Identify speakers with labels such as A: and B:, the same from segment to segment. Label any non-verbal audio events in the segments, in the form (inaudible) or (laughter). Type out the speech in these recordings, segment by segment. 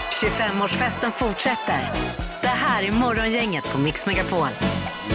A: 25-årsfesten fortsätter. Det här är Morgongänget på Mix Megapol.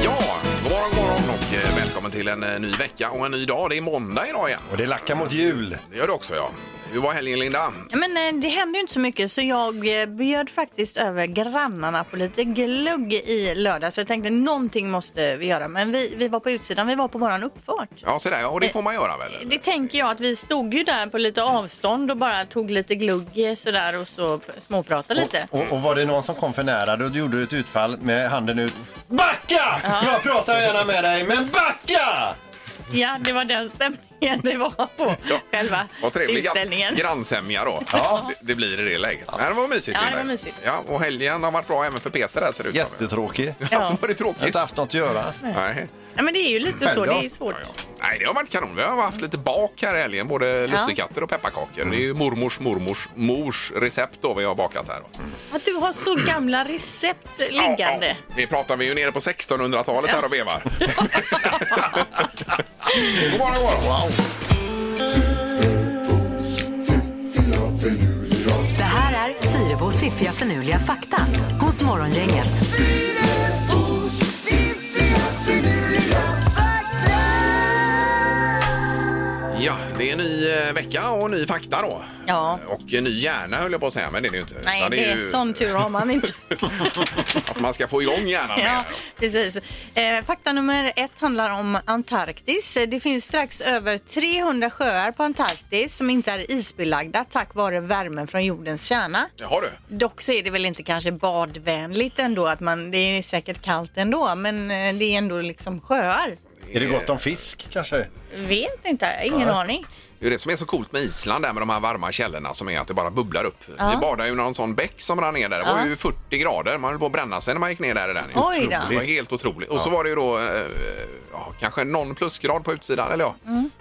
B: Ja, god morgon, god morgon och eh, välkommen till en eh, ny vecka och en ny dag. Det är måndag idag igen.
C: Och det lackar mot jul.
B: Det gör det också ja. Hur var helgen Linda?
D: Ja, Men eh, det hände ju inte så mycket så jag eh, bjöd faktiskt över grannarna på lite glögg i lördag. Så jag tänkte någonting måste vi göra. Men vi, vi var på utsidan, vi var på våran uppfart.
B: Ja, så där ja. Och
D: Eh,
B: det får man göra väl?
D: Det tänker jag att vi stod ju där på lite avstånd och bara tog lite glugg eh, sådär och så p- småpratade lite.
C: Och, och var det någon som kom för nära då gjorde du ett utfall med handen ut. Backa! Jag pratar gärna med dig, men backa!
D: Ja, det var den stämningen det var på själva
B: Vad trevlig
D: utställningen.
B: gran- grannsämja då.
C: Ja.
B: Det, det blir i det läget. Ja. Det var mysigt.
D: Ja, det
B: Linda.
D: var mysigt.
B: Ja, och helgen har varit bra även för Peter där ser det ut som.
C: Jättetråkig. Jag
B: Alltså (laughs) var det
C: har
B: tråkigt?
C: inte haft något att göra.
B: Nej.
D: Ja, men det är ju lite så, det är ju svårt.
B: Ja, ja. Nej, det har varit kanon. Vi har haft lite bak här i helgen, både lussekatter och pepparkakor. Det är ju mormors mormors mors recept då vi har bakat här. va.
D: Att du har så gamla recept
B: Ja,
D: liggande.
B: ja. Vi pratar vi är ju nere på 1600-talet här
D: (laughs)
B: och vevar. god morgon, god morgon.
A: Det här är Fyrebos fiffiga förnuliga fakta hos Morgongänget.
B: Ja, det är en ny eh, vecka och ny fakta då.
D: Ja.
B: Och en ny hjärna höll jag på att säga, men det är det ju inte.
D: Nej,
B: Utan
D: det är
B: ju
D: sån tur har man inte.
B: att man ska få igång hjärnan.
D: Ja,
B: Ja.
D: precis. Eh, fakta nummer ett handlar om Antarktis. Eh, Det finns strax över 300 sjöar på Antarktis som inte är isbelagda tack vare värmen från jordens kärna.
B: Har du?
D: Dock så är det väl inte kanske badvänligt ändå, att man, det är säkert kallt ändå, men eh, det är ändå liksom sjöar.
C: Är det gott om fisk kanske?
D: Vet inte, ingen aning.
B: Det är ju det som är så coolt med Island där med de här varma källorna som är att det bara bubblar upp.
D: Ja.
B: Vi badade ju i någon sån bäck som rann ner där. Det var
D: Ja.
B: ju 40 grader. Man höll på att bränna sig när man gick ner där i den.
D: Oj då.
B: det var helt otroligt. Och så var det ju då eh, ja, kanske någon plusgrad på utsidan, eller ja,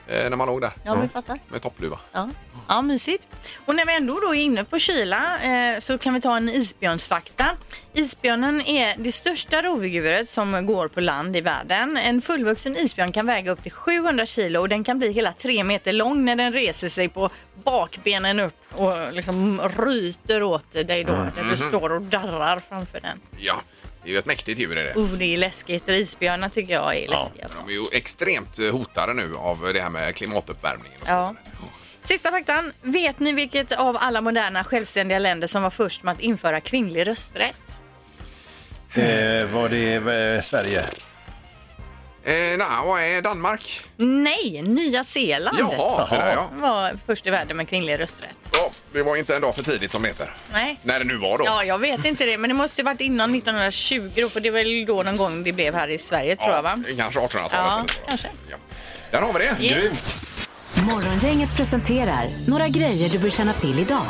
B: eh, när man låg där
D: Mm. Ja, vi fattar.
B: med toppluva.
D: Ja. ja, mysigt. Och när vi ändå då är inne på kyla eh, så kan vi ta en isbjörnsfakta. Isbjörnen är det största rovdjuret som går på land i världen. En fullvuxen isbjörn kan väga upp till 700 kilo och den kan bli hela tre meter lång när den reser sig på bakbenen upp och liksom ryter åt dig då när du står och darrar framför den.
B: Ja, det är ju ett mäktigt djur är det.
D: Oh, det är läskigt och isbjörnar tycker jag är läskiga. alltså.
B: De är ju extremt eh, hotade nu av det här med klimatuppvärmningen. Och så.
D: Ja. Sista faktan. Vet ni vilket av alla moderna självständiga länder som var först med att införa kvinnlig rösträtt?
C: Eh, var det eh, Sverige?
B: Eh, nej, vad är Danmark?
D: Nej, Nya Zeeland
B: Jaha, så där ja.
D: var först i världen med kvinnlig rösträtt.
B: ja. Det var inte en dag för tidigt som det heter.
D: Nej.
B: När det nu var då.
D: Ja, jag vet inte det, men det måste ju varit innan 1920 då, för det var väl då någon gång det blev här i Sverige tror jag va?
B: Kanske 1800-talet.
D: Ja,
B: eller så då.
D: kanske.
B: Ja. Där har vi det.
D: Yes.
C: Grymt!
A: Morgongänget presenterar några grejer du bör känna till idag.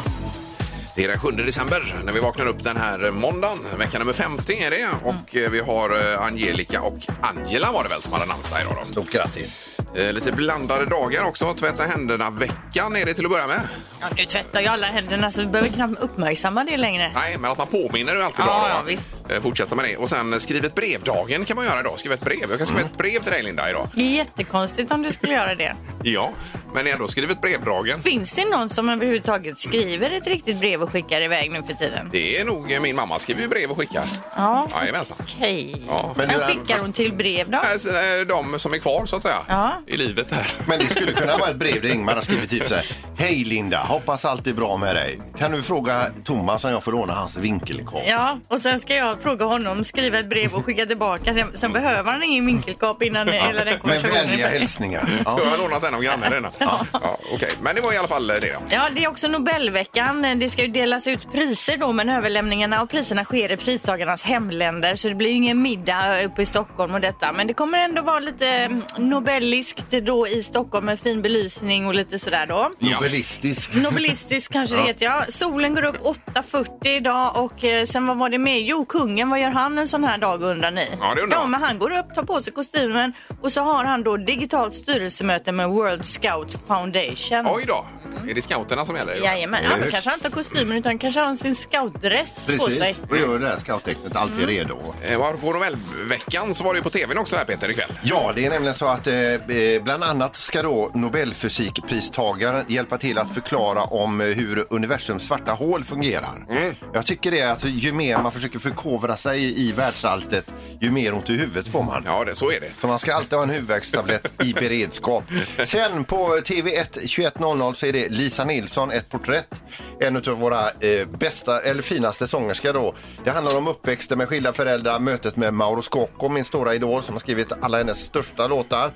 B: Det är den 7 december när vi vaknar upp den här måndagen. Vecka nummer 50 är det.
D: Mm.
B: Och eh, vi har eh, Angelica och Angela var det väl som hade namnsdag idag då.
C: Stort grattis!
B: Eh, Lite blandade dagar också. Tvätta händerna-veckan är det till att börja med.
D: Ja, nu tvättar jag alla händerna så vi behöver knappt uppmärksamma det längre.
B: Nej, men att man påminner är ju alltid
D: Ja,
B: bra. då,
D: ja,
B: va?
D: visst.
B: Eh, Fortsätta med det. Och sen eh, skriv ett brev-dagen kan man göra idag. Skriva ett brev. Jag kan
D: Mm.
B: skriva ett brev till dig Linda idag.
D: Det är jättekonstigt om du skulle göra det.
B: Ja, men ändå skriv ett brev-dagen.
D: Finns det någon som överhuvudtaget skriver ett riktigt brev och skickar iväg nu för tiden?
B: Det är nog eh, min mamma skriver ju brev och skickar.
D: Ja,
B: Jajamensan.
D: Okej.
B: Ja,
C: men
D: Vem
C: du-
D: skickar hon till brev då?
B: Här Äh, är De som är kvar så att säga
D: Ja.
B: i livet här.
C: Men det skulle kunna vara ett brev där Ingmar har skrivit typ så här. Hej Linda, hoppas allt är bra med dig. Kan du fråga Thomas om jag får låna hans vinkelkamera?
D: Ja, och sen ska jag fråga honom, skriva ett brev och skicka tillbaka. Sen, sen behöver han ingen vinkelkap innan hela den
C: Men
D: konversationen
C: vänliga
D: är färdig.
C: hälsningar.
B: Ja.
C: Ja.
B: Jag har lånat en av grannen redan. Ja. Ja, okej. Men det var i alla fall det. då.
D: Ja, det är också Nobelveckan. Det ska ju delas ut priser då, men överlämningarna av priserna sker i pristagarnas hemländer. Så det blir ju ingen middag uppe i Stockholm och detta. Men det kommer ändå vara lite mm, Nobelliskt då i Stockholm med fin belysning och lite sådär då.
C: Nobelistisk.
D: Nobelistisk kanske det heter, ja. Solen går upp 8.40 idag och eh, sen vad var det med? Jo, kungen, vad gör han en sån här dag undrar ni?
B: Ja, det undrar
D: ja,
B: jag.
D: men han går upp, tar på sig kostymen och så har han då digitalt styrelsemöte med World Scout Foundation.
B: Oj då. Är det scouterna som gäller? idag?
D: Jajamän, ja, men kanske han inte har kostymen utan kanske har han sin scoutdress på sig.
C: Precis. Och gör det här scouttecknet alltid redo.
B: Eh, var På Nobelveckan så var det ju på tvn också här Peter ikväll.
C: Ja, det är nämligen så att eh, Eh, Bland annat ska då Nobelfysikpristagaren hjälpa till att förklara om eh, hur universums svarta hål fungerar. Jag tycker det är att ju mer man försöker förkovra sig i världsalltet, ju mer ont i huvudet får man.
B: Ja, det, så är det.
C: För man ska alltid ha en huvudvärkstablett i beredskap. Sen på TV1 21.00 så är det Lisa Nilsson, ett porträtt. En av våra eh, bästa, eller finaste sångerska då. Det handlar om uppväxten med skilda föräldrar, mötet med Mauro Scocco, min stora idol som har skrivit alla hennes största låtar.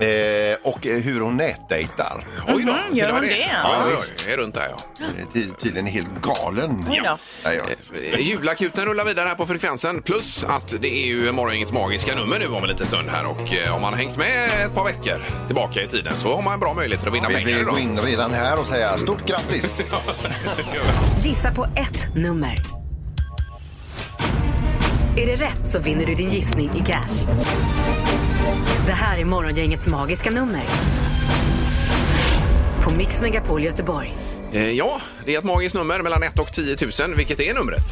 C: Eh, och eh, hur hon nätdejtar.
B: Oj då,
D: Mhm,
B: till
D: gör
B: och med
D: hon det?
B: Ja, ja, ja, jag är runt där ja.
C: Hon är ty- Tydligen helt galen.
D: Oj då.
C: Nej, jag-
B: Eh, Julakuten rullar vidare här på frekvensen plus att det är ju morgongängets magiska nummer nu om en liten stund här och eh, om man har hängt med ett par veckor tillbaka i tiden så har man bra möjligheter att vinna
C: Vi
B: pengar
C: vill gå
B: idag.
C: in redan här och säga stort grattis!
A: Gissa på ett nummer. Är det rätt så vinner du din gissning i cash. Det här är Morgongängets magiska nummer. På Mix Megapol Göteborg.
B: Eh, Ja, det är ett magiskt nummer mellan 1 och 10 000. Vilket är numret?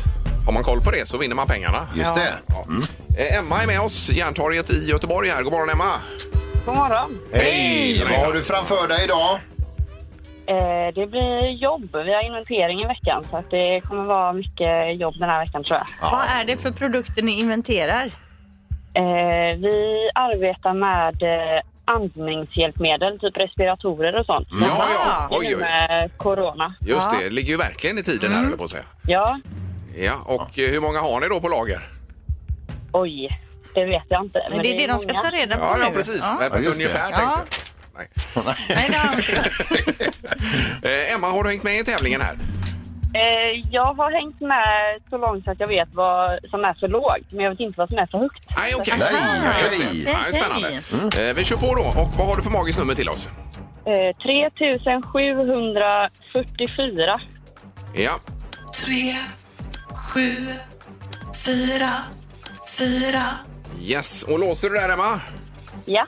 B: Har man koll på det så vinner man pengarna.
C: Just det.
B: Ja. Eh, Emma är med oss, Järntorget i Göteborg. Här. God morgon Emma!
E: God morgon.
C: Hej! Vad har du framför dig idag?
E: Eh, det blir jobb. Vi har inventering i veckan så att det kommer vara mycket jobb den här veckan tror jag.
D: Vad är det för produkter ni inventerar?
E: Eh, vi arbetar med eh, andningshjälpmedel, typ respiratorer och sånt.
B: Mm. Ja, ja.
E: Nu
B: Oj, oj.
E: Med corona.
B: Just det, det ligger ju verkligen i tiden här höll på att säga.
E: Ja,
B: Ja, och eh, hur många har ni då på lager?
E: oj. Det vet jag inte.
D: Men det är det de ska
E: många.
D: ta reda på
B: Ja,
D: nu.
B: ja precis.
D: Ja.
B: Men på
C: Ja,
B: ett
C: just det.
B: Ungefär
D: Ja.
B: tänkte jag. Nej. (laughs)
D: Nej, det har de inte.
B: Eh, Emma, har du hängt med i tävlingen här?
E: Eh, jag har hängt med så långt så att jag vet vad som är för lågt men jag vet inte vad som är för högt.
B: Nej, okej.
C: Nej,
B: Ja, just det.
C: okej.
B: Nej, spännande. Eh, Vi kör på då. Och vad har du för magiskt nummer till oss?
E: Eh, 3744.
B: Ja,
F: tre, sju, fyra, fyra.
B: yes. Och låser du där, Emma?
E: Ja.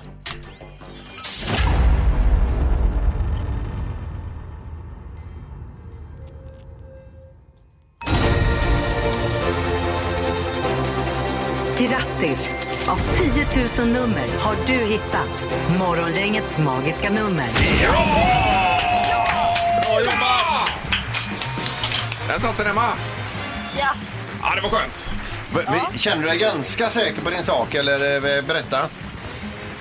A: Grattis! Av 10 000 nummer har du hittat Morgongängets magiska nummer.
B: Bra jobbat! Där satt den, Emma.
E: ja.
B: Ja, det var skönt.
C: V- vi- Känner du dig ganska säker på din sak eller eh, berätta?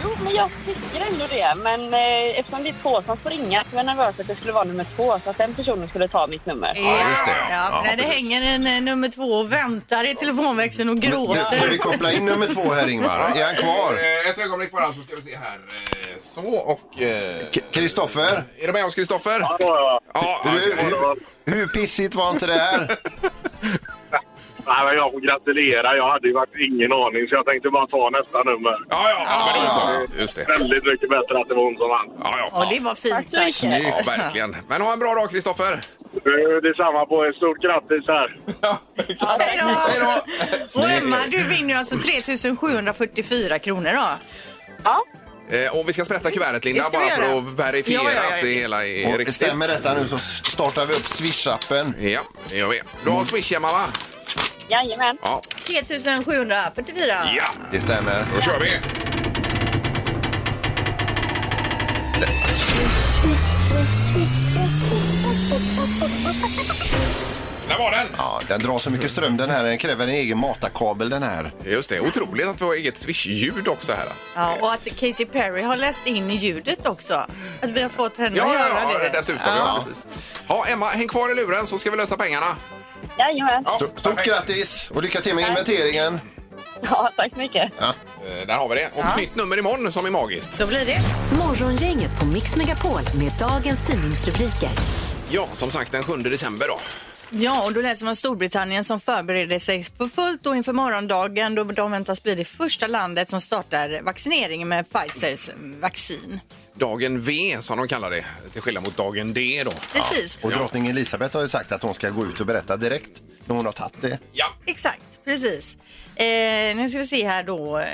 E: Jo, men jag tycker ändå det. Men eh, eftersom det är två som får ringa så var jag nervös att det skulle vara nummer två, så att den personen skulle ta mitt nummer.
D: Ja,
C: just det, ja.
D: Ja,
C: Ja,
D: när det
C: precis.
D: hänger en eh, nummer två och väntar i telefonväxeln och
C: Nu ska vi
D: gråter.
C: koppla in nummer två här Ingmar. Är han kvar?
B: Eh, Ett ögonblick bara så ska vi se här. Eh, Så och... eh,
C: K- Kristoffer,
B: Är du med oss, Kristoffer?
G: Ja,
B: Ja,
C: hur,
B: det var-
C: hur, hur pissigt var inte
B: (laughs)
C: det här?
G: Nej, men jag får gratulera. Jag hade ju varit ingen aning så jag tänkte bara ta nästa nummer.
B: ja, ja, ja, men det var så. Just det.
G: Väldigt mycket bättre att det var hon som vann.
B: Ja,
D: Ja,
B: ja.
D: det var fint
E: Tack
D: sagt.
E: så mycket.
B: Ja, verkligen. Men ha en bra dag, Kristoffer.
G: Eh, Detsamma på er. Stort grattis här.
D: Hej då!
B: då!
D: Och Emma, du vinner ju alltså 3744 kronor då.
E: Ja,
B: Eh, Och vi ska sprätta kuvertet,
D: Det
B: Linda,
D: ska vi
B: bara för
D: göra.
B: att verifiera
D: Ja, ja, ja.
B: att det hela är
C: Och
B: riktigt.
C: stämmer detta nu så startar vi upp Swish-appen.
B: Ja, det gör vi. Du har Swish hemma, va?
E: jajamän.
B: Ja.
D: 3744.
B: ja,
C: Det stämmer.
B: då kör vi. Där var den!
C: Ja, den drar så mycket ström den här. Den kräver en egen matarkabel den här.
B: Just det, otroligt att vi har eget Swish-ljud också här.
D: Ja, och att Katy Perry har läst in i ljudet också. Att vi har fått henne
B: Ja,
D: att
B: ja,
D: göra
B: ja,
D: det.
B: dessutom. Ja. precis. Ja, Emma, häng kvar i luren så ska vi lösa pengarna.
E: Jajamän.
B: Ja,
C: Stort, stort
B: perfekt.
C: grattis och lycka till med inventeringen.
E: (laughs) Ja, tack så mycket.
B: Eh, Där har vi det. Och ett nytt nummer imorgon som är magiskt.
D: Så blir det.
A: Morgongänget på Mix Megapol med dagens tidningsrubriker.
B: Ja, som sagt den 7 december då.
D: Ja, och då läser man Storbritannien som förbereder sig för fullt då inför morgondagen då de väntas bli det första landet som startar vaccineringen med Pfizers vaccin.
B: Dagen V som de kallar det, till skillnad mot dagen D då.
D: Precis,
C: Och drottning Elisabeth har ju sagt att hon ska gå ut och berätta direkt när hon har tagit det.
B: Ja,
D: exakt, precis. Eh, nu ska vi se här då. Eh,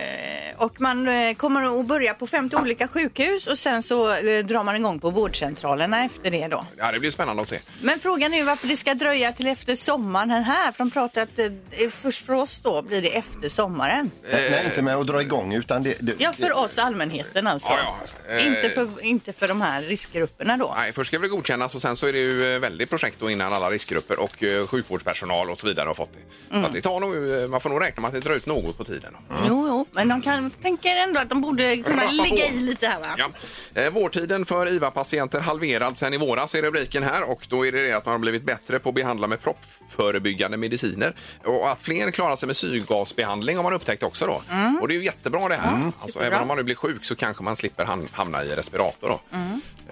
D: Och man eh, kommer att börja på 50 olika sjukhus och sen så eh, drar man igång på vårdcentralerna efter det då.
B: Ja, det blir spännande att se.
D: Men frågan är ju varför det ska dröja till efter sommaren här. För de pratar att eh, först för oss då blir det efter sommaren.
B: Eh.
C: Nej, inte med att dra igång utan det... det
D: Ja, för oss allmänheten alltså.
B: Ja, ja. Eh,
D: Inte, för, inte för de här riskgrupperna då.
B: Nej, först ska det godkännas och sen så är det ju eh, väldigt projekt då innan alla riskgrupper och eh, sjukvårdspersonal och så vidare har fått det. Så att det tar nog, eh, man får nog räkna med att det drar ut något på tiden.
D: Jo, jo, men de kan, tänker ändå att de borde kunna ligga i lite här va?
B: Ja. Eh, Vårdtiden för IVA-patienter halverad sen i våras är rubriken här och då är det det att man har blivit bättre på att behandla med proppförebyggande mediciner och att fler klarar sig med syrgasbehandling har man upptäckt också då. Och det är ju Mm. jättebra det här. Alltså, även om man nu blir sjuk så kanske man slipper ham- hamna i respirator då.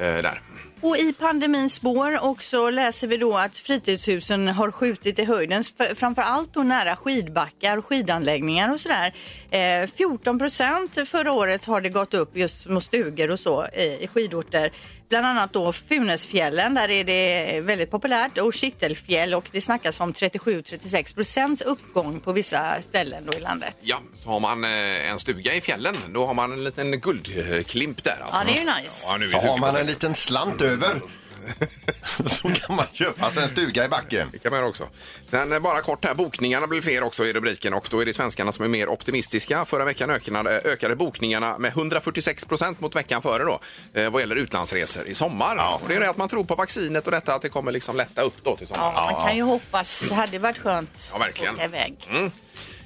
B: Eh, där.
D: Och i pandemins spår också läser vi då att fritidshusen har skjutit i höjden, f- framförallt då nära skidbackar och skidanläggningar och sådär. Eh, 14 procent förra året har det gått upp just små stugor och så eh, i skidorter. Bland annat då Funäsfjällen, där är det väldigt populärt, och Kittelfjäll och det snackas om 37-36 procents uppgång på vissa ställen då i landet.
B: Ja, så har man eh, en stuga i fjällen då har man en liten guldklimp där. Alltså.
D: Ja, det är ju nice.
B: Ja, nu är
C: Så
B: vi
C: har man
B: 20%.
C: en liten slant över så kan man köpa sig en stuga i backen.
B: Det kan man göra också. Sen eh, bara kort här, bokningarna blir fler också i rubriken och då är det svenskarna som är mer optimistiska. Förra veckan ökade, ökade bokningarna med 146 procent mot veckan före då eh, vad gäller utlandsresor i sommar. Och det är det att man tror på vaccinet och detta att det kommer liksom lätta upp då till sommaren.
D: Ja, man kan ju hoppas. Det hade varit skönt
B: Ja, verkligen.
D: att åka iväg.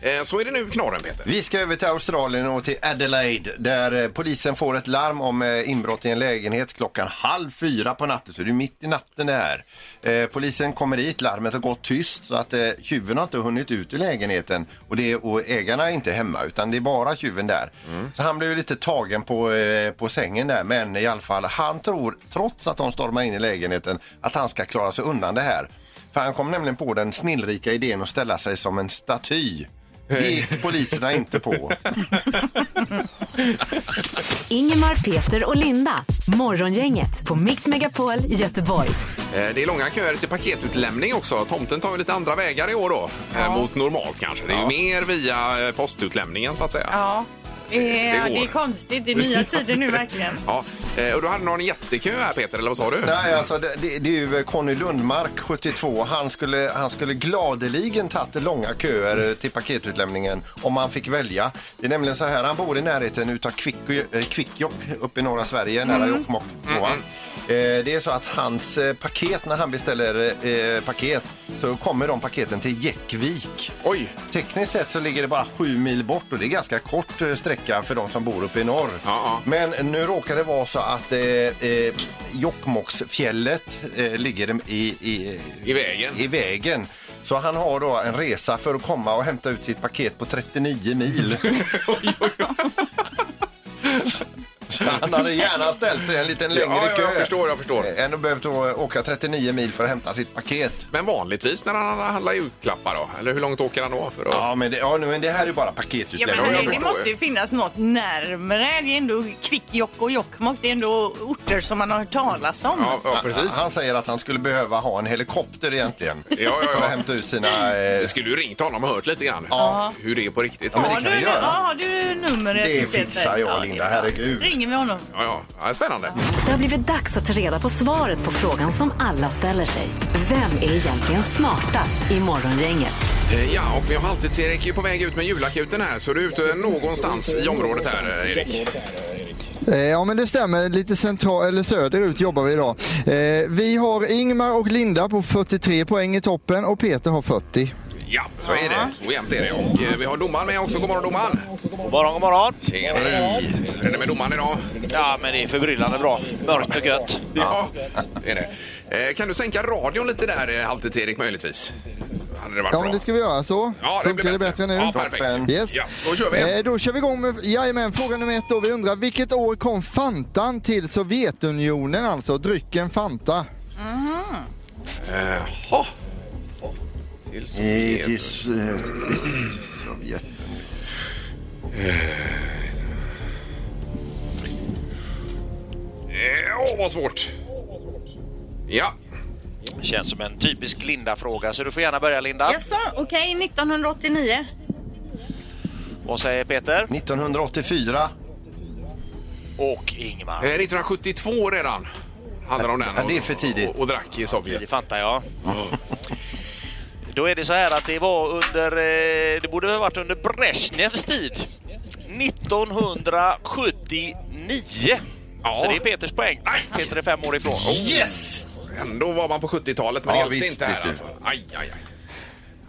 B: Eh, Så är det nu knorren Peter.
C: Vi ska över till Australien och till Adelaide där eh, polisen får ett larm om eh, inbrott i en lägenhet klockan halv fyra på natten. Så det är mitt i natten det här. Eh, Polisen kommer dit, larmet har gått tyst så att eh, tjuven har inte hunnit ut ur lägenheten och, det, och ägarna är inte hemma utan det är bara tjuven där. Så han blev ju lite tagen på, eh, på sängen där men i alla fall han tror trots att de stormar in i lägenheten att han ska klara sig undan det här. För han kom nämligen på den snillrika idén att ställa sig som en staty. Det gick poliserna inte på.
A: Ingemar, Peter och Linda. Morgongänget på Mix Megapol Göteborg.
B: Eh, Det är långa köer till paketutlämning också. Tomten tar ju lite andra vägar i år då. eh, Mot normalt kanske. Det är ju mer via eh, postutlämningen så att säga.
D: Ja, det
B: Det
D: är,
B: går.
D: det är konstigt. Det är nya tider nu verkligen.
B: Ja, eh, och du hade någon jättekö här Peter, eller vad sa du?
C: Nej, alltså det, det, det är ju Conny Lundmark, 72. Han skulle, han skulle gladeligen tagit långa köer eh, till paketutlämningen om han fick välja. Det är nämligen så här, han bor i närheten utav Kvick- eh, Kvikkjokk uppe i norra Sverige, nära Jokkmokk. då, va? Eh, Det är så att hans eh, paket, när han beställer eh, paket, så kommer de paketen till Jäckvik.
B: Oj!
C: Tekniskt sett så ligger det bara sju mil bort och det är ganska kort eh, sträcka för de som bor uppe i norr.
B: Ja, ja.
C: Men nu råkar det vara så att eh, eh, Jokkmokksfjället eh, ligger i, i,
B: I vägen.
C: i vägen. Så han har då en resa för att komma och hämta ut sitt paket på
B: (laughs)
C: 39 mil. Så han hade gärna ställt sig en liten längre
B: ja,
C: kö.
B: jag förstår, jag förstår.
C: Än att behövt å- åka 39 mil för att hämta sitt paket.
B: Men vanligtvis när han handlar julklappar då? Eller hur långt åker han då? För att...
C: Ja, men det, ja, nu, men det här är ju bara
D: Ja,
C: paketutlämning.
D: men
B: jag
D: det, det
B: förstår
D: måste
B: ju.
D: ju finnas något närmre. Det är ändå Kvikkjokk och Jokkmokk. Det är ändå orter som man har hört talas om.
B: ja, ja precis.
C: Han säger att han skulle behöva ha en helikopter egentligen.
B: ja, ja.
C: För att hämta ut sina... Eh,
B: Jag skulle ju ringt honom och hört lite grann hur det är på riktigt.
C: Ja, men
D: har,
C: det kan
D: du,
C: vi
D: ja,
C: göra.
D: har du numret?
C: Det
D: Peter?
C: fixar jag,
D: Ja, det är
C: Linda.
D: bra.
C: Herregud.
D: ringer vi honom.
B: Ja, ja. ja, spännande.
A: Det har blivit dags att ta reda på svaret på frågan som alla ställer sig. Vem är egentligen smartast i morgongänget?
B: Eh, Ja, och vi har halvtids-Erik är ju på väg ut med julakuten här så du är ute någonstans i området här, eh, Erik.
H: Eh, Ja men det stämmer, lite central, eller söderut jobbar vi idag. Eh, vi har Ingmar och Linda på 43 poäng i toppen och Peter har 40.
B: Ja, så är det. Så jämnt är det. Och eh, vi har domaren med också. God morgon domaren!
I: God morgon, god morgon.
B: Tjena! Hur är det med domaren idag?
I: Ja, men det är förbryllande bra. Mörkt och gött.
B: Ja, det är det. Eh, Kan du sänka radion lite där, eh, halvtids-Erik, möjligtvis? Hade det varit
H: Ja
B: bra?
H: men det ska vi göra så.
B: Ja, det
H: Funkar
B: blir
H: det bättre nu?
B: Ja, perfekt.
H: Yes.
B: Ja, då kör vi.
H: Eh, då kör vi igång med jajamän, fråga nummer ett. Då. Vi undrar vilket år kom Fantan till Sovjetunionen, alltså drycken Fanta? Eh,
B: Jaha. Till
C: i-
B: Sovjet.
C: till S- eh, Sovjet.
B: Eh, Åh, vad svårt. Ja.
I: Känns som en typisk Linda-fråga, så du får gärna börja Linda.
D: Jaså, okej. 1989.
I: Vad säger Peter?
C: 1984.
I: Och Ingmar.
B: Eh, 1972 redan handlar om den.
C: Ja, det är
B: och-
C: för tidigt.
B: Och, och drack i
I: Det
B: Sovjet.
I: fattar jag. Då är det så här att det var under, eh, det borde ha varit under Brezjnevs tid. 1979.
B: Ja.
I: Så det är Peters poäng. Peter är fem år ifrån.
B: Yes! Oh. Ändå var man på 70-talet, men
C: Ja,
B: det hjälpte
C: visst,
B: inte här
C: vet du.
B: alltså. Aj, aj, aj.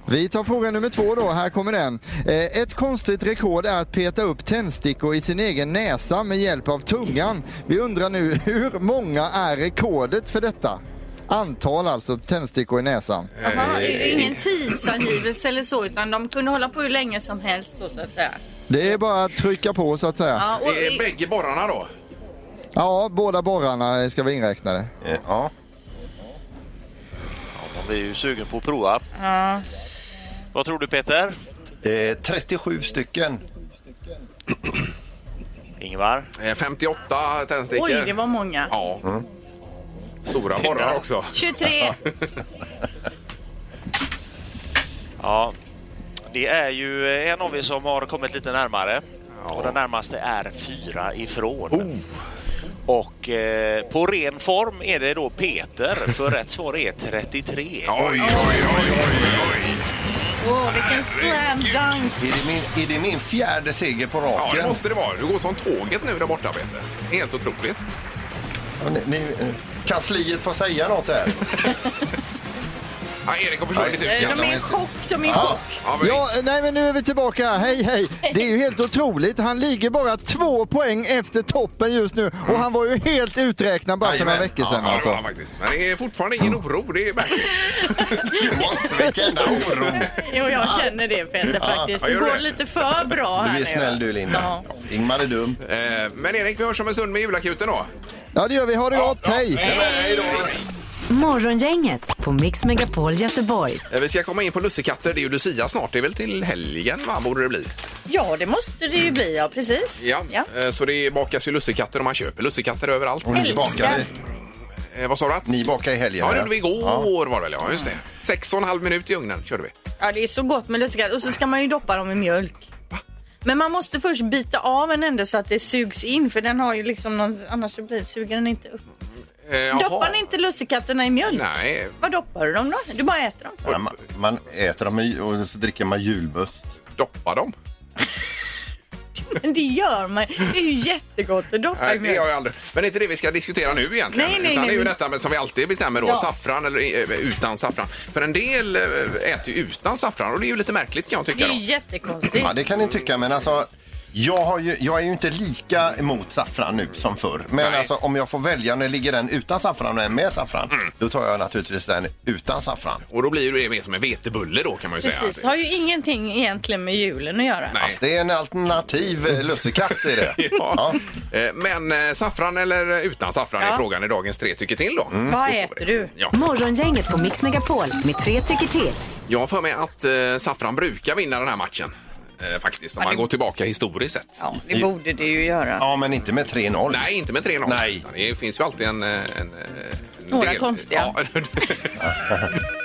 H: Vi tar fråga nummer två då, här kommer den. Eh, ett konstigt rekord är att peta upp tändstickor i sin egen näsa med hjälp av tungan. Vi undrar nu (laughs) hur många är rekordet för detta? Antal alltså tändstickor i näsan.
D: Jaha, det är ingen tidsangivelse eller så utan de kunde hålla på hur länge som helst då så att säga.
H: Det är bara att trycka på så att säga.
D: Ja, och
B: Det är
D: i,
B: bägge borrarna då.
H: Ja, båda borrarna ska vara inräknade.
C: Eh, Ja.
I: De är ju sugen på att prova.
D: ja.
I: Vad tror du Peter?
C: Eh, 37 stycken.
I: Ingvar?
B: Eh, 58 tändstickor.
D: Oj, det var många.
B: Ja. Stora borrar också.
D: 23.
I: Ja, det är ju en av er som har kommit lite närmare. Och den närmaste är fyra ifrån. Och eh, på ren form är det då Peter, för rätt svar är 33.
B: Oj, oj, oj, oj, oj.
D: Åh, vilken slam dunk.
C: Är det, min, är det min fjärde seger på
B: Ja,
C: raken?
B: det måste det vara. Du går som tåget nu där borta, Peter. Helt otroligt.
C: Ja, ni, ni, eh, kansliet får säga något här.
B: Ja, Erik har försvunnit
C: Nej,
B: ut.
D: De är i chock, de är i chock.
B: Ja, men-
H: Ja, nej men nu är vi tillbaka. Hej, hej. Det är ju helt otroligt. Han ligger bara två poäng efter toppen just nu och han var ju helt uträknad bara för några
C: Jajamän.
H: veckor
B: Ja,
H: sedan
B: det var
H: alltså.
B: han faktiskt. Men det är fortfarande ingen oro. Det är märkligt. (laughs)
C: Du måste väl känna oro.
D: Jo, jag känner det Peter faktiskt.
B: Ja,
D: Det
B: gör
D: går
B: det.
D: lite för bra här
C: Du är
D: nu.
C: snäll du Linda. Ingmar är dum.
B: Eh, Men Erik, vi hörs om en stund med julakuten då.
H: Ja, det gör vi. Ha det gott. Hej.
B: Hej då!
A: Morgongänget på Mix Megapol Göteborg.
B: Eh, Vi ska komma in på lussekatter. Det är ju Lucia snart. Det är väl till helgen, va? Borde det bli.
D: Ja, det måste det ju bli, ja precis.
B: Eh, Så det bakas ju lussekatter och man köper lussekatter överallt.
C: Och ni bakar, i-
B: Eh, Vad sa du? Att?
C: ni bakar i
B: Ja,
C: helgen?
B: det
C: eller?
B: gjorde vi igår var det väl? Ja, just det. Sex och en halv minut i ugnen körde vi.
D: Ja, det är så gott med lussekatter. Och så ska man ju doppa dem i mjölk. Men man måste först bita av en ände så att det sugs in för den har ju liksom någon, annars så blir, suger den inte upp.
B: Eh, jaha.
D: Doppar ni inte lussekatterna i mjölk?
B: Nej.
D: Vad doppar du dem då? Du bara äter dem? (laughs)
C: Ja, man, man äter dem i- och så dricker man julmust.
B: Doppa dem?
D: Men det gör man Det är ju jättegott att doppa i
B: Nej, det har
D: mjölk.
B: jag aldrig. Men det är inte det vi ska diskutera nu egentligen.
D: Nej, nej,
B: Utan
D: nej,
B: det är ju
D: men-
B: detta med, som vi alltid bestämmer då.
D: Ja.
B: Saffran eller eh, utan saffran. För en del eh, äter ju utan saffran och det är ju lite märkligt kan jag
D: Det
B: tycka
D: är ju
B: då.
D: jättekonstigt.
C: Ja, det kan ni tycka, men alltså... Jag, har ju, jag är ju inte lika emot saffran nu som förr. Men
B: Nej.
C: alltså, om jag får välja, när ligger den utan saffran och den med saffran?
B: Mm.
C: Då tar jag naturligtvis den utan saffran.
B: Och då blir ju det mer som en vetebulle då kan man ju
D: Precis,
B: säga.
D: har ju ingenting egentligen med julen att göra.
B: Nej.
C: Det är en alternativ eh, lussekatt i det.
B: (laughs) Ja. Eh, Men eh, saffran eller utan saffran är
D: Ja.
B: frågan i dagens tre tycker till då.
D: Vad
B: Så får vi
D: äter
B: det.
D: du?
B: Ja.
A: Morgongänget på Mix Megapol med tre tycker till.
B: Jag har för mig att eh, saffran brukar vinna den här matchen. Eh, faktiskt, om man går tillbaka historiskt sett.
D: Ja, det borde det ju göra.
C: Ja, men inte med 3-0.
B: Nej, inte med 3-0.
C: Nej.
B: Utan Det finns ju alltid en... eh, en, eh, en
D: Några konstiga.
B: Ja.
D: (laughs)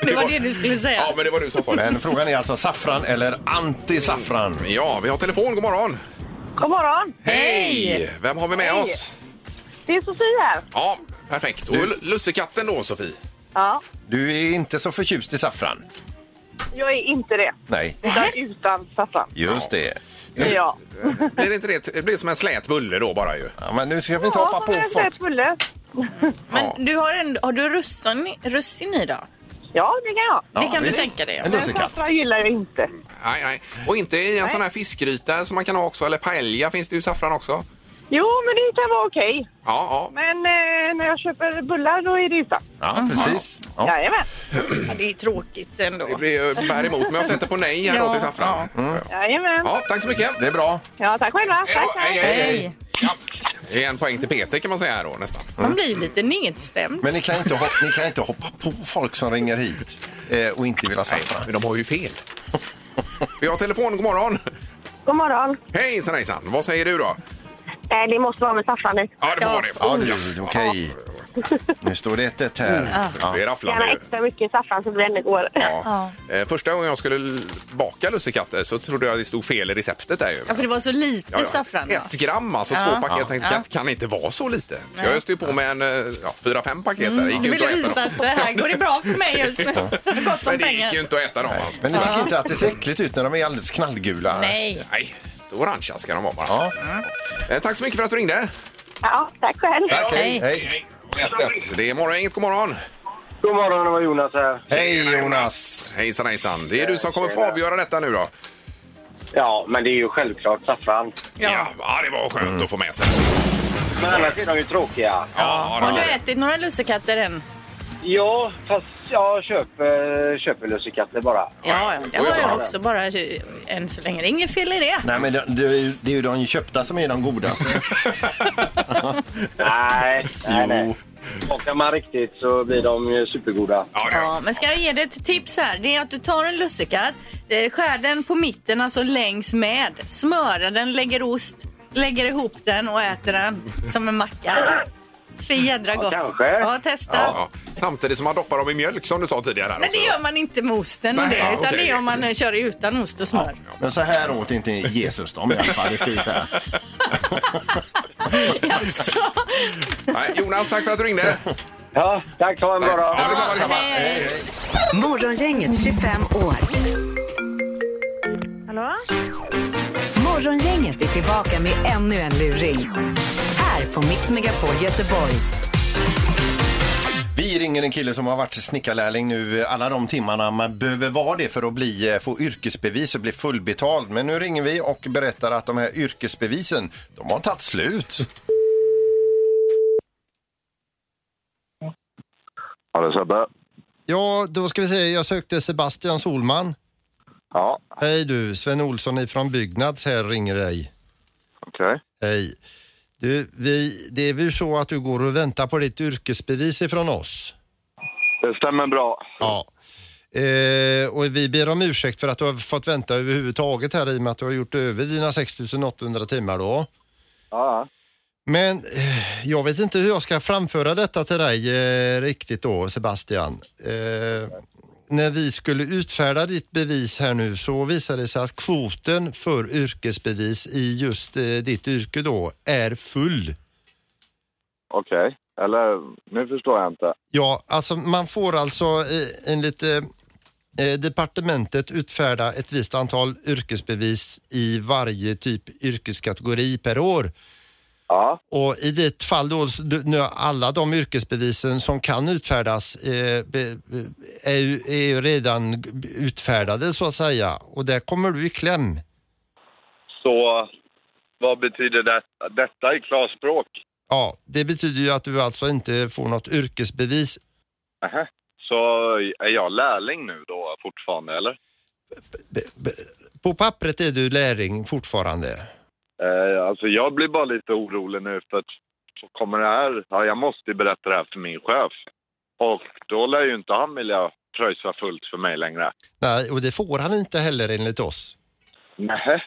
D: Det var det du skulle
B: ja,
D: säga.
B: men det var du som sa det.
C: Men frågan är alltså saffran eller anti-saffran?
B: Ja, vi har telefon. God morgon!
E: God morgon!
B: Hej! Vem har vi med
E: Hej.
B: oss?
E: Det är Sofie här.
B: Ja, perfekt. Och l- lussekatten då, Sofie?
E: Ja,
C: Du är inte så förtjust i saffran?
E: jag är inte det.
C: Nej,
E: Utan utan saffran.
C: just det.
E: Det är jag.
B: Är det inte det? Det blir som en slät bulle då bara ju.
C: Ja, men nu ska vi inte
E: Ja,
C: hoppa
E: som
C: på
E: jag säger,
C: folk.
E: Pulle.
D: Men du har, en, har du russin, i- russin i då?
E: Ja, det kan jag.
D: Det kan du
C: visst.
D: tänka dig.
C: En
E: Men
C: lussekatt.
E: saffran gillar jag inte.
B: Nej, nej. Och inte i en sån här fiskgryta som man kan ha också. Eller paella finns det ju saffran också.
E: Jo, men det kan vara okej.
B: Ja, ja.
E: Men eh, när jag köper bullar då är det utan.
C: Ja, precis. Ja.
E: Jajamän.
D: Ja, det är tråkigt ändå.
B: Det blir ju bär emot, men jag sätter på nej här då
D: Ja,
B: till saffran. Mm.
E: Jajamän.
B: Ja, tack så mycket.
C: Det är bra.
E: Ja, tack själva.
B: Hej
E: Tack,
B: då.
E: tack.
D: Hej.
B: Ja. Det är en poäng till Peter kan man säga här då nästan.
D: Man blir ju lite nedstämd.
C: Men ni kan inte hoppa, ni kan inte hoppa på folk som ringer hit eh, och inte vill ha saffran.
B: Men de har ju fel. (laughs) Vi har telefon, god morgon.
E: God morgon.
B: Hejsan hejsan, vad säger du då?
E: Eh, det måste vara med saffran i.
B: Ja, det får vara det.
C: Ja, du, okej. Nu står det 1-1
B: Det
C: här.
B: är
C: Ja.
B: rafflande
E: Gärna
B: ju.
E: extra mycket saffran så blir det ännu godare.
B: Ja. Eh, Första gången jag skulle l- baka lussekatter så trodde jag det stod fel i receptet där ju.
D: Ja, för det var så lite saffran. va?
B: Ett gram, alltså
D: Ja.
B: två paket. Jag tänkte, kan, kan inte vara så lite. Så jag öste ju på med en, eh, ja, fyra, fem paket där. Det gick
D: Jag
B: ju inte
D: Mm. ville
B: att
D: visa
B: äta dem.
D: att det här går det
B: (laughs)
D: bra för mig just nu. Jag har gott om
B: Men det gick ju
D: pengar.
B: inte att äta dem alltså.
C: Men ni tycker inte att det ser äckligt ut när de är alldeles knallgula?
D: Nej.
B: Nej, orangea ska de vara bara.
C: Ja.
B: Eh, Tack så mycket för att du ringde.
E: Ja, tack själv.
C: Tack, hej. Hej,
B: Hej. Ett, ett. Det är morgon, inget god morgon.
G: God morgon, det var Jonas här.
C: hej Jonas!
B: Hejsan hejsan. Det är du som kommer få avgöra detta nu då.
G: Ja, men det är ju självklart saffran.
B: Ja, ja det var skönt att få med sig.
G: Men annars är de ju tråkiga.
B: Ja, det
D: Har
B: var
D: du
B: det.
D: ätit några lussekatter än?
G: Ja, fast jag köper, köper lussekatter bara.
D: Ja, ja, det har jag också bara eh, än så länge. Det är inget fel i det.
C: Nej men det, det är ju- det är ju de köpta som är de
G: (laughs)
C: godaste.
G: Nej, nej, nej. Bakar man riktigt så blir de ju supergoda.
B: Ja, ja.
D: Ja, men ska jag ge dig ett tips här? Det är att du tar en lussekatt, eh, skär den på mitten, alltså längs med, smörar den, lägger ost, lägger ihop den och äter den som en macka. För jädra gott.
G: kanske.
D: Ja, testa.
B: Ja. Samtidigt som man doppar dem i mjölk som du sa tidigare. Här
D: Men
B: också.
D: det gör man inte med osten och
B: Alltså- Nej,
D: det,
B: ja,
D: utan
B: okej.
D: det är om man eh, kör utan ost och smör.
C: Men så här åt inte Jesus dem i alla fall, det ska vi säga.
D: Jaså?
B: Nej, Jonas, tack för att du ringde.
G: Ja, tack. Ha en bra dag.
B: Ja, detsamma, detsamma.
A: Morgongänget 25 år.
E: Hallå?
A: Morgongänget är tillbaka med ännu en luring. Här på Mix Megapol Göteborg.
C: Vi ringer en kille som har varit snickarlärling nu alla de timmarna man behöver vara det för att bli, eh, få yrkesbevis och bli fullbetald. Men nu ringer vi och berättar att de här yrkesbevisen, de har tagit slut.
G: Ja, det är Sebbe.
C: Ja, då ska vi se, jag sökte Sebastian Solman.
G: Ja,
C: Hej du, Sven Olsson ifrån Byggnads här ringer dig.
G: okej.
C: Hej. Du, vi, det är väl så att du går och väntar på ditt yrkesbevis ifrån oss?
G: Det stämmer bra.
C: Ja. Eh, och vi ber om ursäkt för att du har fått vänta överhuvudtaget här i och med att du har gjort över dina 6800 timmar då.
G: Ja,
C: Men eh, jag vet inte hur jag ska framföra detta till dig eh, riktigt då, Sebastian. Eh, när vi skulle utfärda ditt bevis här nu så visade det sig att kvoten för yrkesbevis i just eh, ditt yrke då är full.
G: okej. Eller, nu förstår jag inte.
C: Ja, alltså man får alltså eh, enligt eh, eh, departementet utfärda ett visst antal yrkesbevis i varje typ yrkeskategori per år.
G: Ja,
C: Och i ditt fall då, s- du- nu alla de yrkesbevisen som kan utfärdas eh, be, be, är, ju, är ju redan g- utfärdade så att säga. Och där kommer du i kläm.
G: så vad betyder det, detta i klarspråk?
C: Ja, det betyder ju att du alltså inte får något yrkesbevis
G: Nähä. Så är jag lärling nu då fortfarande, eller?
C: på pappret är du lärling fortfarande.
G: Eh, alltså jag blir bara lite orolig nu för att så kommer det här, ja, jag måste ju berätta det här för min chef. Och då lär ju inte han vilja pröjsa fullt för mig längre.
C: Nej, och det får han inte heller enligt oss.
G: Nähä.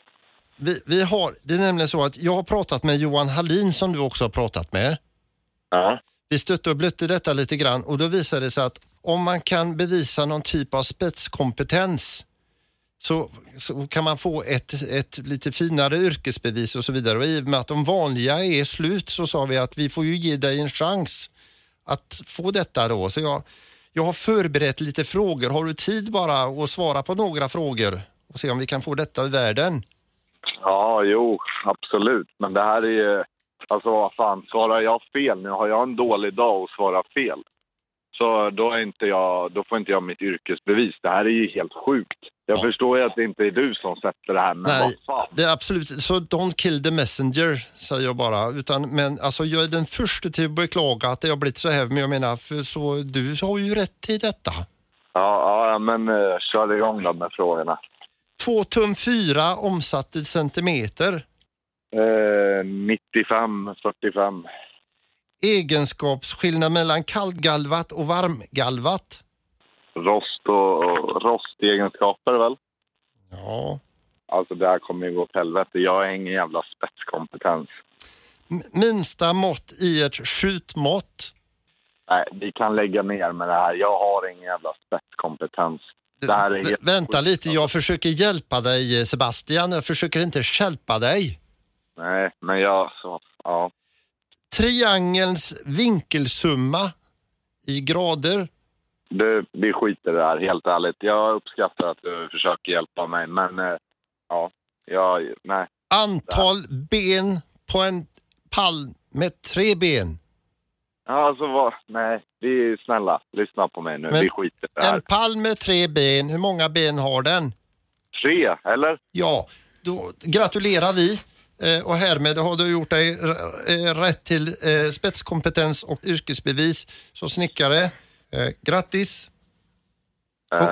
C: Vi, vi har, det är nämligen så att jag har pratat med Johan Hallin som du också har pratat med.
G: Ja.
C: Vi stötte och blötte detta lite grann och då visade det sig att om man kan bevisa någon typ av spetskompetens så, så kan man få ett, ett lite finare yrkesbevis och så vidare. Och i och med att de vanliga är slut så sa vi att vi får ju ge dig en chans att få detta då. Så jag, jag har förberett lite frågor. Har du tid bara att svara på några frågor och se om vi kan få detta i världen?
G: Ja, jo, absolut. Men det här är ju... Alltså vad fan, svarar jag fel nu? Har jag en dålig dag och svarar fel? Så då, är inte jag, då får inte jag mitt yrkesbevis. Det här är ju helt sjukt. Jag förstår ju att det inte är du som sätter det här, men
C: Nej,
G: vad fan.
C: det är absolut så don't kill the messenger säger jag bara. Utan, men alltså, jag är den första till att beklaga att det har blivit så här. Men jag menar, för så, du har ju rätt i detta.
G: Ja, ja men uh, kör igång då med frågorna.
C: Två tum fyra omsatt i centimeter.
G: Eh, 95, 45.
C: Egenskapsskillnad mellan kallgalvat och varmgalvat.
G: Rost och, och rostegenskaper väl?
C: Ja.
G: Alltså det här kommer ju gå åt helvete. Jag har ingen jävla spetskompetens.
C: M- Minsta mått i ett skjutmått.
G: nej, vi kan lägga ner med det här. Jag har ingen jävla spetskompetens. Det här är
C: Vä-
G: helt
C: Vänta
G: sjukt,
C: lite,
G: alltså.
C: jag försöker hjälpa dig eh, Sebastian. Jag försöker inte stjälpa dig.
G: Nej, men jag... Så, ja.
C: Triangelns vinkelsumma i grader.
G: Du, vi skiter i det här, helt ärligt. Jag uppskattar att du försöker hjälpa mig, men... eh, Ja, jag... Nej.
C: Antal ben på en pall med tre ben.
G: Ja, Alltså, vad... Nej, vi... Snälla, lyssna på mig nu.
C: Men-
G: vi skiter i det här.
C: En pall med tre ben, hur många ben har den?
G: Tre, eller?
C: Ja, då gratulerar vi. Eh, Och härmed har du gjort dig r- eh, rätt till eh, spetskompetens och yrkesbevis som snickare. Eh, Grattis!
G: Eh,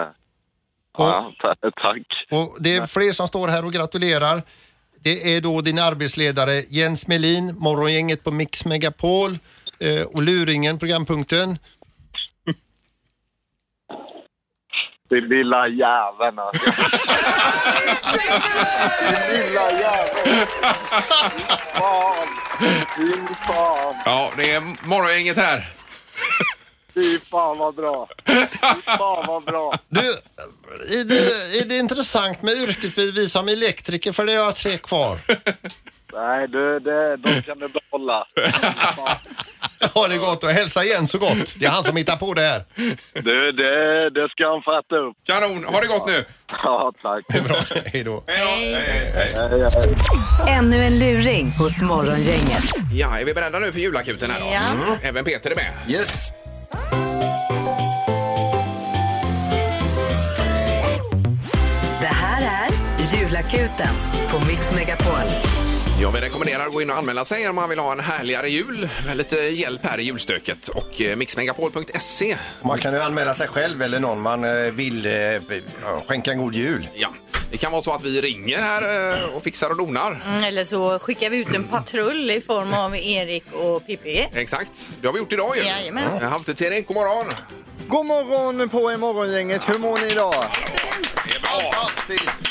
G: ja, (laughs) ta- tack.
C: Och det är fler som står här och gratulerar. Det är då din arbetsledare Jens Melin, Morgongänget på Mix Megapol eh, och Luringen, programpunkten.
G: Det lilla jäveln, alltså. Det lilla jäveln. Fan. Fy fan.
B: Ja, det är morgongänget (laughs) här.
G: Fy fan vad bra. Fy fan vad bra.
C: Du, är det, är det intressant med yrkesbevis som elektriker? För det har jag tre kvar.
G: Nej, du, det, de kan du behålla.
C: Ha det gott och hälsa igen så gott. Det är han som hittar på det här.
G: Du, det, det ska han fatta upp.
B: Kanon, ha det gott nu!
G: Ja, tack.
C: Bra, hej då.
B: Hej då! Hej, hej, hej.
A: Ännu en luring hos Morgongänget.
B: Ja, är vi beredda nu för julakuten här då?
D: Ja.
B: Mm. Även Peter är med.
J: Yes.
A: Det här är Julakuten på Mix Megapol.
B: Ja, vi rekommenderar att gå in och anmäla sig om man vill ha en härligare jul med lite hjälp här i julstöket. Och eh, mixmegapol.se.
J: Man kan ju anmäla sig själv eller någon man eh, vill eh, ja, skänka en god jul.
B: Ja, det kan vara så att vi ringer här eh, och fixar och donar.
D: Mm, Eller så skickar vi ut en patrull i form av Erik och Pippi.
B: Exakt, det har vi gjort idag ju.
D: Jajamän.
B: Ja, Halvtids-Erik, god morgon!
H: God morgon på er morgongänget. Hur mår ni idag?
B: Det är bra!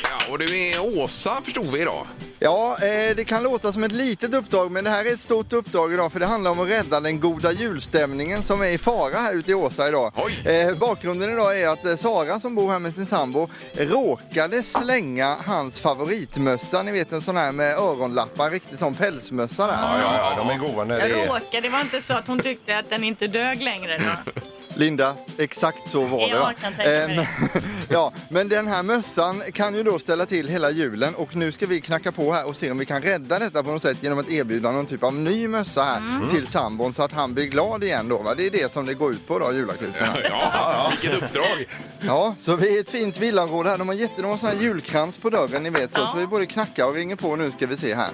B: Ja, och du är Åsa förstod vi idag.
H: Ja, eh, det kan låta som ett litet uppdrag men det här är ett stort uppdrag idag för det handlar om att rädda den goda julstämningen som är i fara här ute i Åsa idag.
B: Oj.
H: Eh, bakgrunden idag är att eh, Sara som bor här med sin sambo råkade slänga hans favoritmössa, ni vet en sån här med öronlappar, en riktig sån pälsmössa där.
J: Ja, ja, de är goda när
D: Jag
J: det är...
D: råkade, det var inte så att hon tyckte att den inte dög längre då.
B: (laughs)
H: Linda, exakt så var det.
D: Jag
H: va?
D: kan tänka mig
H: Ehm, ja, men (laughs) den här mössan kan ju då ställa till hela julen och nu ska vi knacka på här och se om vi kan rädda detta på något sätt genom att erbjuda någon typ av ny mössa här
D: Mm.
H: till sambon så att han blir glad igen då. Va? Det är det som det går ut på då, julakuten.
B: Ja, ja, vilket uppdrag!
H: Ja, så vi är ett fint villaområde här. De har jättemånga sån här julkrans på dörren, ni vet så. Så vi både knackar och ringer på nu ska vi se här.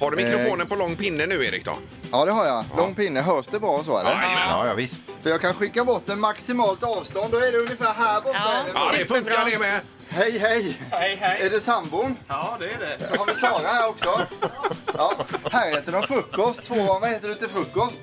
B: Har du mikrofonen på lång pinne nu Erik då?
H: Ja, det har jag. Lång pinne. Hörs det bra och så eller?
J: Ja, ja, visst.
H: För jag kan skicka bort den maximalt avstånd. Då är det ungefär här borta.
D: Ja.
H: är det.
B: Ja, det funkar det med.
H: Hej, hej! Hej, hej! Är det sambon? Ja, det är det. Har vi Sara här också? Ja. Här äter de frukost. Två gånger, vad heter du till frukost?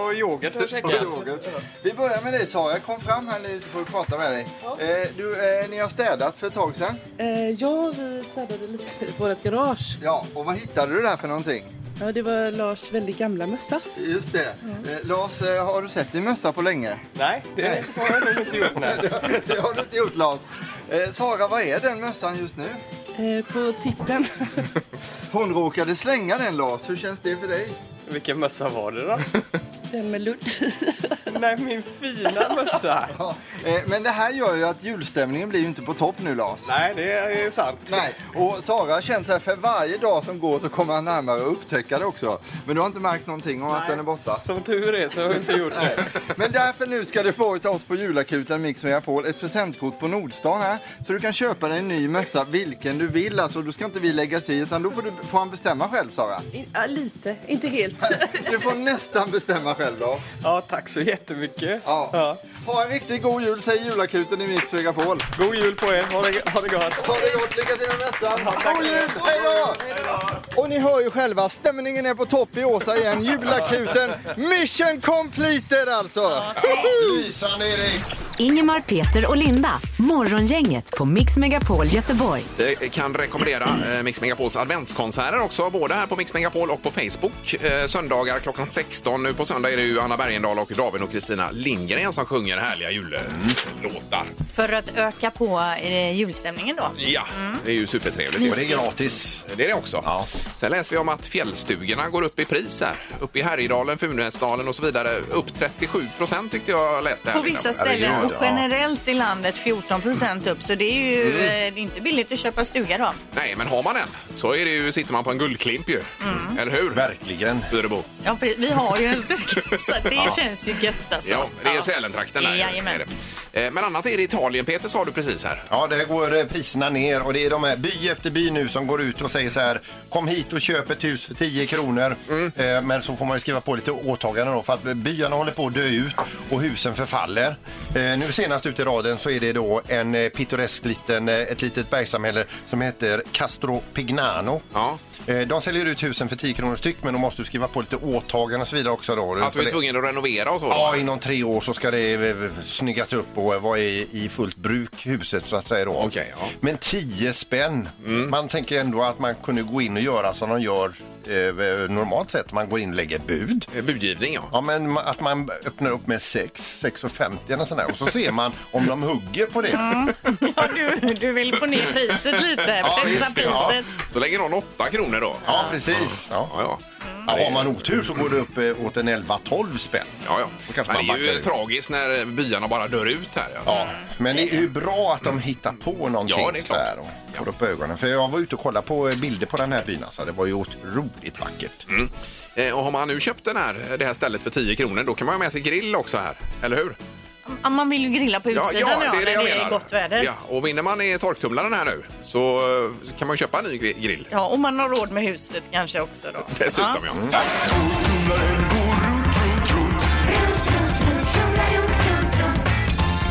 H: Flingor och yoghurt har Vi börjar med dig Sara. Kom fram här nu så får vi prata med dig. Eh, du, eh, ni har städat för ett tag sedan.
K: Eh, ja, vi städade lite i vårt garage.
H: Ja, och vad hittade du där för någonting?
K: Ja, det var Lars väldigt gamla mössa.
H: Just det. Eh, Lars, eh, har du sett min mössa på länge?
L: Nej, det har jag nog inte gjort. Nej.
H: (laughs) det har du inte gjort Lars. Eh, Sara, vad är den mössan just nu?
K: Eh, på tippen.
H: Hon råkade slänga den Lars. Hur känns det för dig?
L: Vilken mössa var det då?
K: Den med ludd
L: Nej, min fina mössa.
H: (laughs) Ja, eh, men det här gör ju att julstämningen blir ju inte på topp nu Lars.
L: Nej, det är sant.
H: Nej, och Sara känner så här för varje dag som går så kommer han närmare att upptäcka det också. Men du har inte märkt någonting om att den är borta.
L: Som tur är så har jag inte gjort det.
H: Men därför nu ska du få utav oss på julakuten Mix Megapol ett presentkort på Nordstan här. Så du kan köpa dig en ny mössa vilken du vill alltså. Då ska inte vi lägga sig i utan då får, du, får han bestämma själv Sara.
K: In, ja, lite, inte helt.
H: (laughs) Du får nästan bestämma själv Lars.
L: Ja, tack så jättemycket.
H: Ja.
L: Ja.
H: Ha en riktigt god jul säger julakuten i Mix Megapol.
L: God jul på er. Ha det, ha det gott.
H: Ha det gott, lycka till med mässan! God jul! Hej då! Och ni hör ju själva, stämningen är på topp i Åsa igen. Julakuten, mission completed alltså!
J: Lysande Erik!
A: Ingemar, Peter och Linda. Morgongänget på Mix Megapol Göteborg.
B: Eh, kan rekommendera eh, Mix Megapols adventskonserter också, både här på Mix Megapol och på Facebook. Eh, Söndagar klockan 16. Nu på söndag är det ju Anna Bergendahl och David och Kristina Lindgren som sjunger härliga jullåtar.
D: För att öka på eh, julstämningen då.
B: Ja, det är ju supertrevligt.
C: Mm.
D: Och det är
B: gratis. Det är det också. Sen läser vi om att fjällstugorna går upp i pris här. Upp i Härjedalen, Funäsdalen och så vidare. Upp 37 procent tyckte jag läste här.
D: På vissa ställen och
B: Herregud, ja.
D: generellt i landet 14 procent upp. Så det är ju
B: Mm.
D: eh, det är inte billigt att köpa stuga då.
B: Nej, men har man en så är det ju, sitter man på en guldklimp ju.
C: Mm.
B: Eller hur? Verkligen. Fyrebo.
D: Ja, precis. vi har ju en stuga (laughs) så det
B: Ja.
D: känns ju gött alltså.
B: Ja, det är Sälentrakten där.
D: Jajamän.
B: Är det. Eh, Men annat är det Italien, Peter, sa du precis här.
C: Ja, där går eh, priserna ner och det är de här by efter by nu som går ut och säger så här kom hit och köp ett hus för 10 kronor.
B: Mm.
C: Eh, Men så får man ju skriva på lite åtaganden då för att byarna håller på att dö ut och husen förfaller. Eh, Nu senast ut i raden så är det då en eh, pittoresk liten, eh, ett litet bergssamhälle som heter Castro Pignano. Eh, De säljer ut husen för 10 kronor styck men då måste du skriva på lite åtaganden och så vidare också då.
B: Att vi
C: För
B: är
C: det-
B: tvungna att renovera och så. då.
C: Ja, inom tre år så ska det eh, snyggas upp och vara i, i fullt bruk huset så att säga då. Men 10 spänn.
B: Mm.
C: Man tänker ändå att man kunde gå in och göra som de gör eh, normalt sett. Man går in och lägger bud.
B: Budgivning ja.
C: Ja, men ma- att man öppnar upp med 6, 6,50 eller sån där. Och så ser man om de hugger på det.
D: Ja, du, du vill få ner priset lite,
C: Ja,
D: pressa
C: visst, ja.
D: priset.
B: Så lägger någon 8 kronor då.
C: Ja, precis. Ja.
B: Ja,
C: Ja, har man otur så går det upp eh, åt en 11-12 spänn.
B: Ja, ja.
C: Då kanske
B: Men
C: man
B: det är ju
C: backar ur.
B: tragiskt när eh, byarna bara dör ut här. alltså. Ja.
C: Men det är ju bra att de hittar på någonting
B: Ja, det är klart.
C: så här och får upp ögonen. För jag var ute och kollade på eh, bilder på den här byn alltså. Det var ju otroligt vackert.
B: Mm. Eh, Och har man nu köpt den här, det här stället för 10 kronor, då kan man ha med sig grill också här. Eller hur?
D: Ja, Man vill ju grilla på
B: Ja,
D: utsidan
B: ja, det är
D: när
B: det jag
D: det är
B: menar.
D: gott väder.
B: Ja,
D: Ja.
B: och vinner man i torktumlaren här nu så eh, kan man ju köpa en ny gri- grill.
D: och man har råd med huset kanske också då.
B: Dessutom ja.
D: Mm.
B: ja.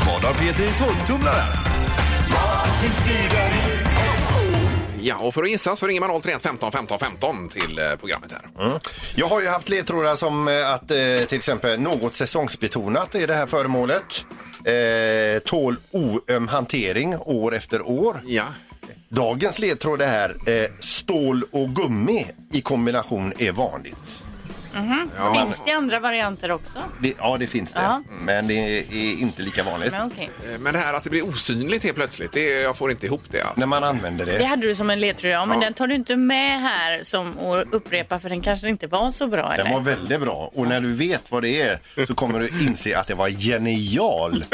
K: Vad har Peter i torktumlaren?
B: Ja, och för att gissa så ringer man 031 15 15 15 till eh, programmet här.
C: Mm. Jag har ju haft ledtrådar som eh, att eh, till exempel något säsongsbetonat i det här föremålet. Eh, tål oöm hantering år efter år.
B: Ja.
C: Dagens ledtråd är här, eh, stål och gummi i kombination är vanligt.
D: Mhm.
C: Ja.
D: Finns det andra varianter också?
C: Det, ja, det finns det.
D: Ja.
C: Men det är inte lika vanligt.
D: Men okej.
B: Eh, Men det här att det blir osynligt helt plötsligt, det, jag får inte ihop det. Alltså.
C: När man använder
D: Det hade du som en ledtråd, ja, men
B: Ja.
D: den tar du inte med här som att upprepa för den kanske inte var så bra eller?
C: Den var väldigt bra och när du vet vad det är så kommer du inse att det var genial.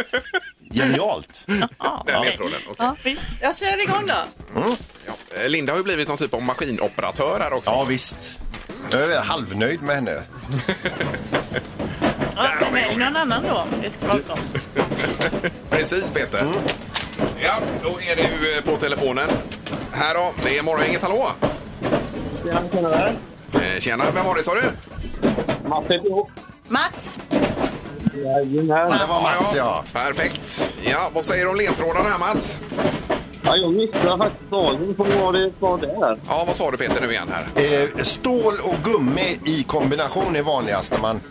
C: Genialt.
B: Den ledtråden. okej.
D: Ja, visst. jag kör igång då.
B: Eh, Linda har ju blivit någon typ av maskinoperatör här också.
C: Ja, visst. Jag är halvnöjd med henne.
D: Ja, välj någon annan då om det ska vara så.
B: Precis Peter.
D: Mm.
B: Ja, då är det ju eh, på telefonen. Här då, det är Morgongänget, hallå!
E: Tjena, tjena där.
B: Eh, Tjena, vem var det sa du?
E: Mats
D: Mats!
E: Jajamän.
C: Det var Mats, ja.
B: Perfekt. Ja, vad säger du om ledtrådarna här Mats?
E: Ja, jag missade faktiskt dagen på vad det var där.
B: Ja, vad sa du Peter nu igen här?
C: Eh, stål och gummi i kombination är vanligast när man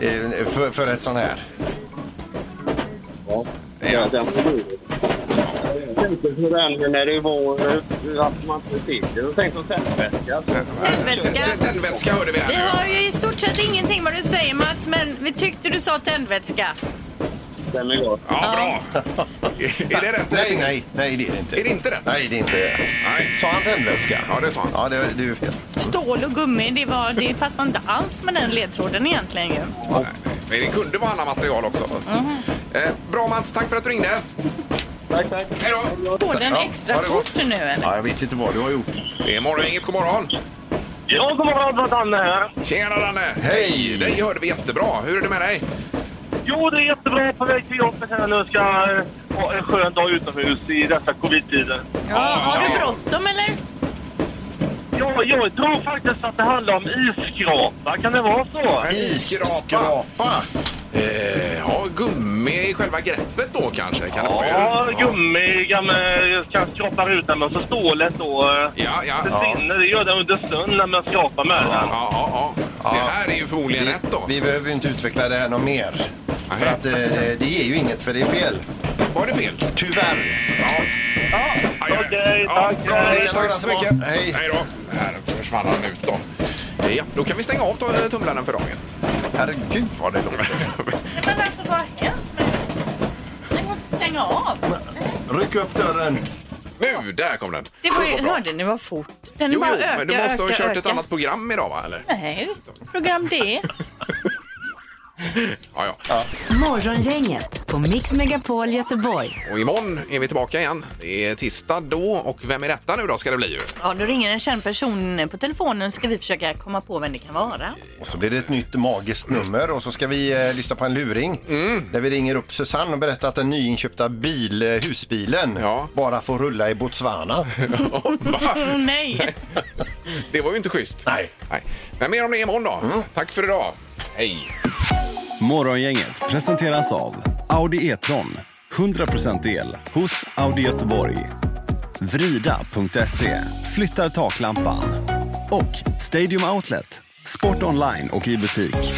C: eh, för, för ett sån här.
E: Ja. Den var god. Jag tänkte på den när det var eh, att man inte ser det. Jag tänkte på tändvätska.
B: Tändvätska? Tändvätska hörde vi
D: Vi
B: här.
D: hör ju i stort sett ingenting vad du säger Mats, men vi tyckte du sa tändvätska.
E: Den är god.
B: Ja, bra. är det rätt?
C: Nej, nej, nej, det är det inte.
B: Är det inte rätt?
C: Nej, det är inte det. Sa han tändvätska?
B: Ja, det sa han.
C: Ja, det, det är ju fel.
D: Stål och gummi, det, var, det passar inte alls med den ledtråden egentligen ju.
B: Men det kunde vara annat material också. Eh, bra Mats, tack för att du ringde.
E: Tack, tack.
B: Hej då!
D: Går den
B: Ja,
D: extra
B: ha det gott.
D: fort nu eller?
C: Ja, jag vet inte vad du har gjort.
B: Det är morgongänget, god morgon!
E: Ja, god morgon, det var Danne här.
B: Tjena Danne! Hej! Dig hörde vi jättebra. Hur är det med dig?
E: Jo, det är jättebra. På väg till jobbet här nu. Ska eh, ha en skön dag utomhus i dessa covid-tider.
D: Ja, har du bråttom eller?
E: Ja, jag tror faktiskt att det handlar om isskrapa. Kan det vara så?
C: Skrapa.
B: Eh, ja, gummi i själva greppet då kanske? Kan det vara,
E: Ja,
B: ju?
E: gummi kan, eh, kan skrapa ut den, men så stålet då eh,
B: Ja, ja.
E: försvinner. Det gör den under snön när man skrapar med den.
B: Ja, ja, ja. Det här är ju förmodligen rätt då.
C: Vi behöver ju inte utveckla det här något mer. För att eh, det ger ju inget för det är fel.
B: Var det fel?
C: Tyvärr.
B: Okej, tack. tack så
C: Tack.
B: mycket.
C: Hej.
B: Hej då. Här försvann han ut då. Ja, då kan vi stänga av eh, tumlaren för dagen.
C: Herregud vad det låter.
D: Men alltså vad har hänt? Men Den går inte att stänga av.
C: Ryck upp dörren.
B: (laughs) Nu, där kom den.
D: Det var ju, hörde ni vad fort? Den
B: Jo,
D: bara
B: jo,
D: ökar,
B: men du måste ha
D: ökar,
B: kört ett
D: ökar.
B: annat program idag va? Eller?
D: Nej, program D.
B: Ja, ja. ja.
A: Morgongänget på Mix Megapol Göteborg.
B: Och imorgon är vi tillbaka igen. Det är tisdag då och vem är detta nu då ska det bli (laughs) ju?
D: Ja, då ringer en känd person på telefonen ska vi försöka komma på vem det kan vara.
C: Och så blir det ett nytt magiskt nummer och så ska vi eh, lyssna på en luring. Där vi ringer upp Susanne och berättar att den nyinköpta bil, eh, husbilen bara får rulla i Botswana.
D: Nej!
B: Det var ju inte schysst. Nej. Men mer om det imorgon då.
D: Mm.
B: Tack för idag. Hej!
M: Morgongänget presenteras av Audi E-tron. 100% el hos Audi Göteborg. Vrida.se. Flyttar taklampan. Och Stadium Outlet. Sport online och i butik.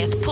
N: Ett